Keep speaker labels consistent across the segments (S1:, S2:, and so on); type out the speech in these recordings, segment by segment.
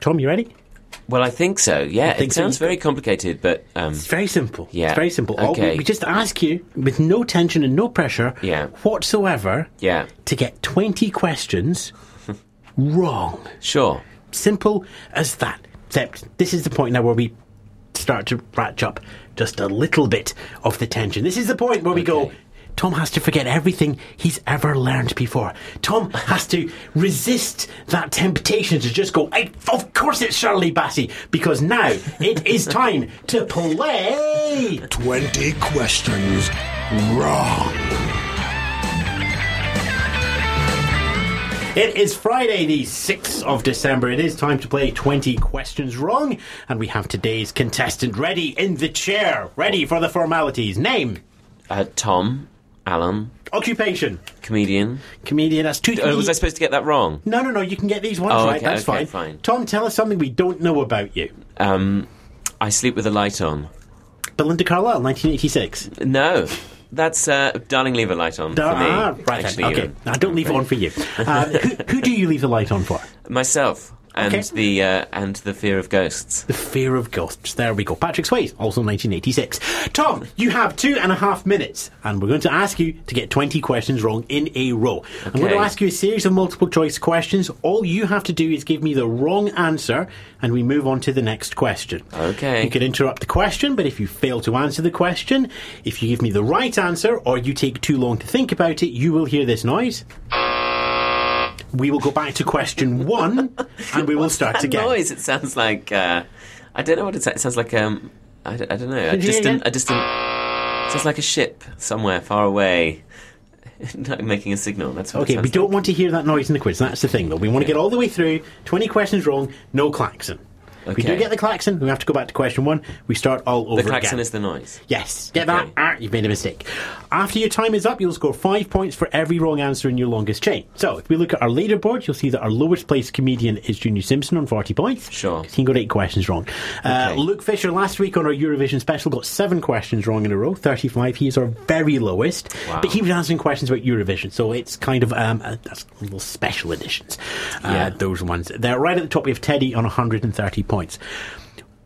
S1: Tom, you ready?
S2: Well, I think so. Yeah,
S1: think
S2: it
S1: so.
S2: sounds very complicated, but um,
S1: It's very simple.
S2: Yeah,
S1: It's very simple. All we-
S2: okay.
S1: we just ask you, with no tension and no pressure
S2: Yeah.
S1: whatsoever,
S2: yeah,
S1: to get 20 questions wrong.
S2: sure.
S1: Simple as that. Except this is the point now where we start to ratchet up just a little bit of the tension. This is the point where we go.
S2: Okay.
S1: Tom has to forget everything he's ever learned before. Tom has to resist that temptation to just go, I, of course it's Shirley Bassey, because now it is time to play.
S3: 20 questions wrong.
S1: It is Friday, the 6th of December. It is time to play 20 questions wrong, and we have today's contestant ready in the chair, ready for the formalities. Name,
S2: Uh, Tom, Alan,
S1: occupation,
S2: comedian.
S1: comedian. That's two.
S2: Uh, was I supposed to get that wrong?
S1: no, no, no. You can get these ones
S2: Oh,
S1: right.
S2: okay,
S1: That's
S2: okay,
S1: fine.
S2: fine.
S1: Tom, tell us something we don't know about you.
S2: Um, I sleep with the light on.
S1: Belinda Carlisle, 1986.
S2: No, that's uh, darling. Leave a light on for me.
S1: Ah, right
S2: actually,
S1: then. Okay,
S2: Ian.
S1: I don't leave it on for you. Um, who, who do you leave the light on for?
S2: myself and
S1: Okay.
S2: the uh, and the fear of ghosts.
S1: The Fear of Ghosts. There we go. Patrick Swayze, also 1986. Tom, you have two and a half minutes, and we're going to ask you to get 20 questions wrong in a row. I'm going to
S2: Okay.
S1: ask you a series of multiple choice questions. All you have to do is give me the wrong answer, and we move on to the next question.
S2: Okay.
S1: You can interrupt the question, but if you fail to answer the question, if you give me the right answer or you take too long to think about it, you will hear this noise. We will go back to question one, and we will start
S2: that
S1: again.
S2: noise. It sounds like uh, I don't know what it sounds. It sounds like um, I, d- I don't know. A
S1: Could you hear
S2: distant,
S1: again?
S2: a distant. It sounds like a ship somewhere far away, not making a signal. That's what it
S1: Okay,
S2: sounds
S1: we don't want to hear that noise in the quiz. That's the thing, though. We want to get all the way through. 20 questions wrong, no klaxon. If We do
S2: Okay.
S1: get the klaxon, we have to go back to question one. We start all over
S2: Like. The klaxon
S1: again.
S2: is the noise.
S1: Yes, get
S2: Okay.
S1: that? Ah, you've made a mistake. After your time is up, you'll score five points for every wrong answer in your longest chain. So, if we look at our leaderboard, you'll see that our lowest placed comedian is Junior Simpson on 40 points.
S2: Sure.
S1: 'Cause He got eight questions wrong. Uh,
S2: Okay.
S1: Luke Fisher last week on our Eurovision special got seven questions wrong in a row, 35. He is our very lowest.
S2: Wow.
S1: But he was answering questions about Eurovision, so it's kind of um, uh, that's little special editions. Uh,
S2: Yeah.
S1: Those ones. They're right at the top. We have Teddy on 130 points.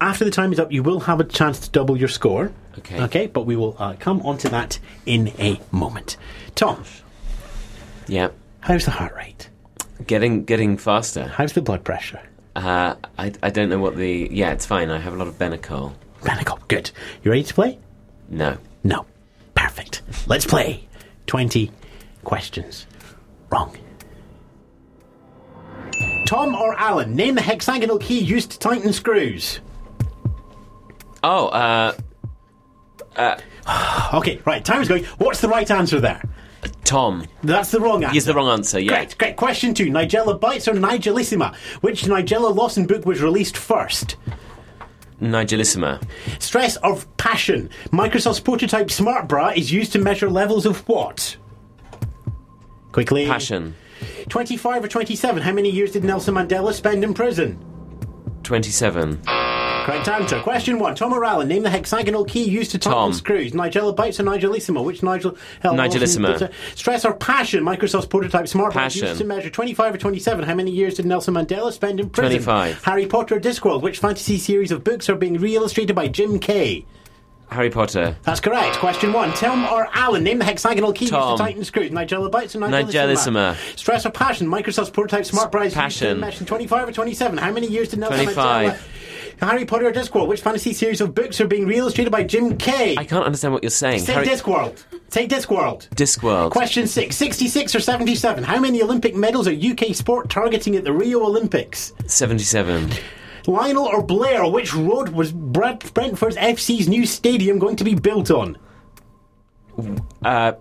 S1: After the time is up, you will have a chance to double your score.
S2: Okay.
S1: Okay, but we will uh, come onto that in a moment. Tom,
S2: Yeah,
S1: how's the heart rate?
S2: getting getting faster.
S1: How's the blood pressure?
S2: Uh, I I don't know what the yeah. It's fine. I have a lot of Benecol.
S1: Panicle. Good. You ready to play?
S2: No.
S1: No. Perfect. Let's play. 20 questions. Wrong. Tom or Alan, name the hexagonal key used to tighten screws.
S2: Oh, uh,
S1: Okay, right, time's going. What's the right answer there?
S2: Tom.
S1: That's the wrong answer.
S2: Here's the wrong answer. Yeah.
S1: Great, great. Question two Nigella Bites or Nigelissima? Which Nigella Lawson book was released first?
S2: Nigelissima.
S1: Stress of passion. Microsoft's prototype smart bra is used to measure levels of what? Quickly.
S2: Passion.
S1: 25 or 27. How many years did Nelson Mandela spend in prison?
S2: Twenty-seven.
S1: Correct answer. Question one. Tom O'Reilly, name the hexagonal key used to tighten
S2: Tom.
S1: screws. Nigella Bites or Nigelissima? Which Nigel? hell,
S2: Nigelissima.
S1: Nelson- Stress or passion? Microsoft's prototype smart bra is used
S2: Passion.
S1: to measure 25 or 27. How many years did Nelson Mandela spend in prison?
S2: 25.
S1: Harry Potter or Discworld? Which fantasy series of books are being re-illustrated by Jim Kay?
S2: Harry Potter.
S1: That's correct. Question one. Tom or Alan, name the hexagonal key
S2: Tom.
S1: used to tighten screws. Nigella Bites or Nigelissima?
S2: Nigelissima.
S1: Stress or passion? Microsoft's prototype smart prize.
S2: Passion.
S1: Mentioned 25 or 27. How many years did Nelson
S2: 25.
S1: Mandela- Harry Potter or Discworld? Which fantasy series of books are being re-illustrated by Jim Kay?
S2: I can't understand what you're saying.
S1: Say
S2: Harry-
S1: Discworld. Say Discworld.
S2: Discworld.
S1: Question six. 66 or 77. How many Olympic medals are UK sport targeting at the Rio Olympics?
S2: 77.
S1: Lionel or Blair? Which road was Brad- Brentford's FC's new stadium going to be built on?
S2: Uh,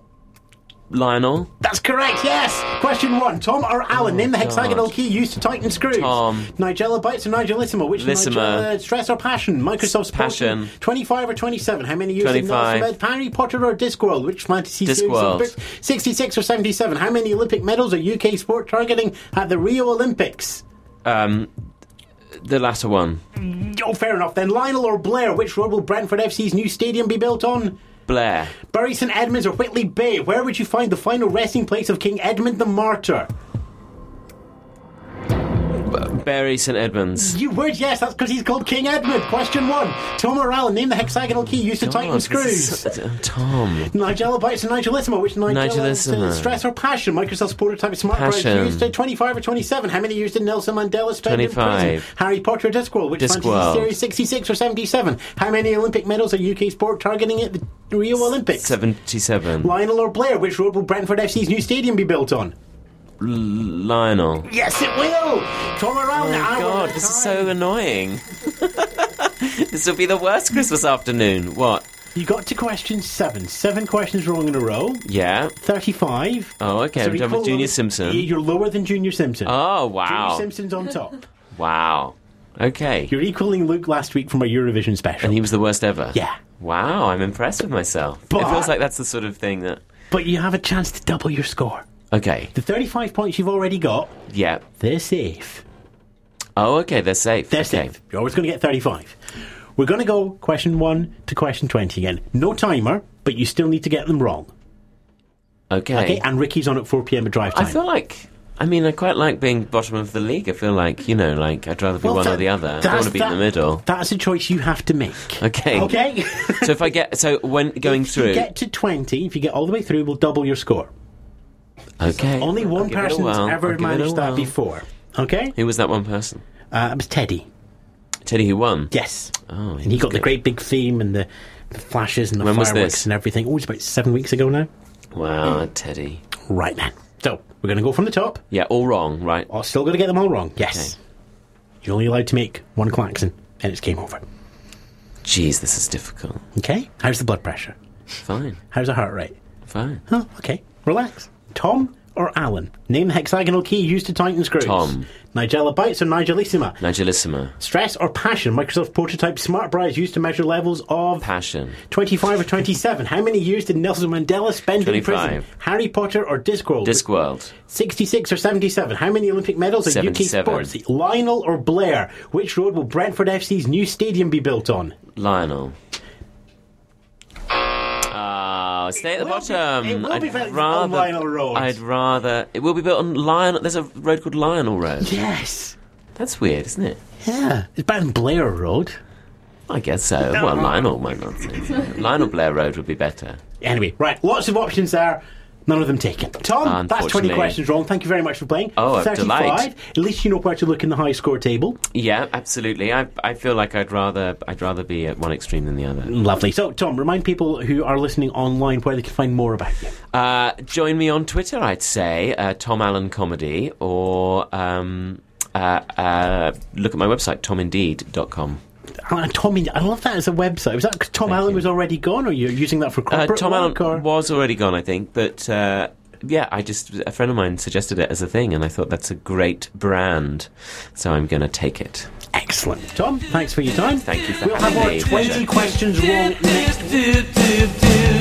S2: Lionel.
S1: That's correct, yes! Question one. Tom or Alan, name the hexagonal
S2: Oh, God.
S1: key used to tighten screws.
S2: Tom.
S1: Nigella Bites or Nigelissima? Which
S2: Lissima.
S1: Nigella, stress or passion? Microsoft's
S2: Passion.
S1: 25 or 27? How many years
S2: 25.
S1: in Harry Potter or Discworld? Which fantasy series of
S2: Discworld.
S1: books? 66 or 77? How many Olympic medals are UK sport targeting at the Rio Olympics?
S2: Um, the latter one.
S1: Oh, fair enough. Then Lionel or Blair, which road will Brentford FC's new stadium be built on?
S2: Blair.
S1: Bury St Edmunds or Whitley Bay, where would you find the final resting place of King Edmund the Martyr?
S2: Barry St. Edmunds.
S1: You would, yes, that's because he's called King Edward. Question one. Tom Morale, name the hexagonal key used to tighten
S2: God, Oh, this is
S1: screws.
S2: such a- Tom.
S1: Nigella bites and Nigelissimo, which Nigella is
S2: Nigelissimo.
S1: stress or passion. Microsoft prototype smart
S2: Passion.
S1: branch used in 25 or 27. How many used in Nelson Mandela's spent in
S2: 25.
S1: prison? Harry Potter Discworld, which
S2: Discworld.
S1: fantasy series 66 or 77? How many Olympic medals are UK sport targeting at the Rio Olympics?
S2: 77.
S1: Lionel or Blair, which road will Brentford FC's new stadium be built on?
S2: Lionel.
S1: Yes, it will! Tom Morale,
S2: Oh
S1: now
S2: God,
S1: we're
S2: this is
S1: time.
S2: so annoying. this will be the worst Christmas afternoon. What?
S1: You got to question seven. Seven questions wrong in a row.
S2: Yeah.
S1: 35.
S2: Oh, okay.
S1: So
S2: We're done with
S1: equal
S2: Junior
S1: lower-
S2: Simpson.
S1: You're lower than Junior Simpson.
S2: Oh
S1: Junior
S2: wow.
S1: Simpson's on top.
S2: Wow. Okay.
S1: You're equaling Luke last week from our Eurovision special.
S2: And he was the worst ever.
S1: Yeah.
S2: Wow, I'm impressed with myself.
S1: But-
S2: It feels like that's the sort of thing that.
S1: but you have a chance to double your score.
S2: Okay.
S1: The 35 points you've already got,
S2: Yeah.
S1: they're safe.
S2: Oh, okay. They're safe.
S1: They're
S2: okay.
S1: safe. You're always going to get 35. We're going to go question 1 to question 20 again. No timer, but you still need to get them wrong.
S2: Okay.
S1: Okay, and Ricky's on at 4 pm at drive time.
S2: I feel like. I mean, I quite like being bottom of the league. I feel like you know, like I'd rather be one
S1: that-
S2: or the other. I don't
S1: that's-
S2: want to be in
S1: that-
S2: the middle.
S1: That's a choice you have to make.
S2: Okay.
S1: Okay?
S2: so if I get so when going
S1: If
S2: through,
S1: you get to 20, if you get all the way through, we'll double your score.
S2: okay.
S1: Only
S2: I'll
S1: one
S2: give it a
S1: person's
S2: whirl. I'll
S1: ever
S2: give it a
S1: managed that
S2: whirl.
S1: before. Okay?
S2: Who was that one person?
S1: Uh, it was Teddy.
S2: Teddy, who won?
S1: Yes.
S2: Oh,
S1: and he got the great big theme and the, the flashes and the
S2: When was
S1: fireworks
S2: this?
S1: and everything. Oh, it's about seven weeks ago now.
S2: Wow, Teddy.
S1: Right then. So, we're going to go from the top.
S2: Yeah, all wrong, right?
S1: Oh, still going to get them all wrong. Yes. You're only allowed to make one klaxon, and it's game over.
S2: Jeez, this is difficult.
S1: Okay? How's the blood pressure?
S2: Fine,
S1: How's the heart rate?
S2: fine.
S1: Oh, okay. Relax. Tom or Alan? Name the hexagonal key used to tighten screws.
S2: Tom.
S1: Nigella Bites or Nigelissima?
S2: Nigelissima,
S1: Stress or passion? Microsoft prototype smart bras used to measure levels of
S2: passion.
S1: 25 or 27. How many years did Nelson Mandela spend in prison?
S2: 25.
S1: Harry Potter or Discworld?
S2: Discworld,
S1: 66 or 77. How many Olympic medals are UK
S2: 77.
S1: sports? Lionel or Blair? Which road will Brentford FC's new stadium be built on?
S2: Lionel. Oh, stay at the
S1: will be-
S2: bottom.
S1: it will
S2: I'd
S1: be built on
S2: rather,
S1: Lionel Road.
S2: I'd rather. It will be built on Lionel. There's a road called Lionel Road.
S1: Yes.
S2: That's weird, isn't it?
S1: Yeah. It's better than Blair Road.
S2: I guess so. Well, Lionel might not. Say. Lionel Blair Road would be better.
S1: Anyway, right, lots of options there. None of them taken. Tom, that's 20
S2: Unfortunately.
S1: questions wrong. Thank you very much for playing.
S2: Oh, a
S1: 35.
S2: delight.
S1: At least you know where to look in the high score table.
S2: Yeah, absolutely. I I feel like I'd rather I'd rather be at one extreme than the other.
S1: Lovely. So, Tom, remind people who are listening online where they can find more about you.
S2: Uh, join me on Twitter, I'd say uh, Tom Allen Comedy, or um, uh, uh, look at my website tomindeed.com.
S1: Uh, Tom, I love that as a website. Was that 'cause Tom Allen was already gone, or you're using that for
S2: Uh,
S1: corporate
S2: Tom Allen
S1: work? or-
S2: was already gone, I think, but uh, yeah, I just a friend of mine suggested it as a thing, and I thought that's a great brand, so I'm going to take it.
S1: Excellent. Tom, thanks for your time.
S2: Thank you for
S1: We'll have
S2: having
S1: more
S2: me.
S1: 20
S2: Pleasure.
S1: questions wrong next
S4: do, do, do.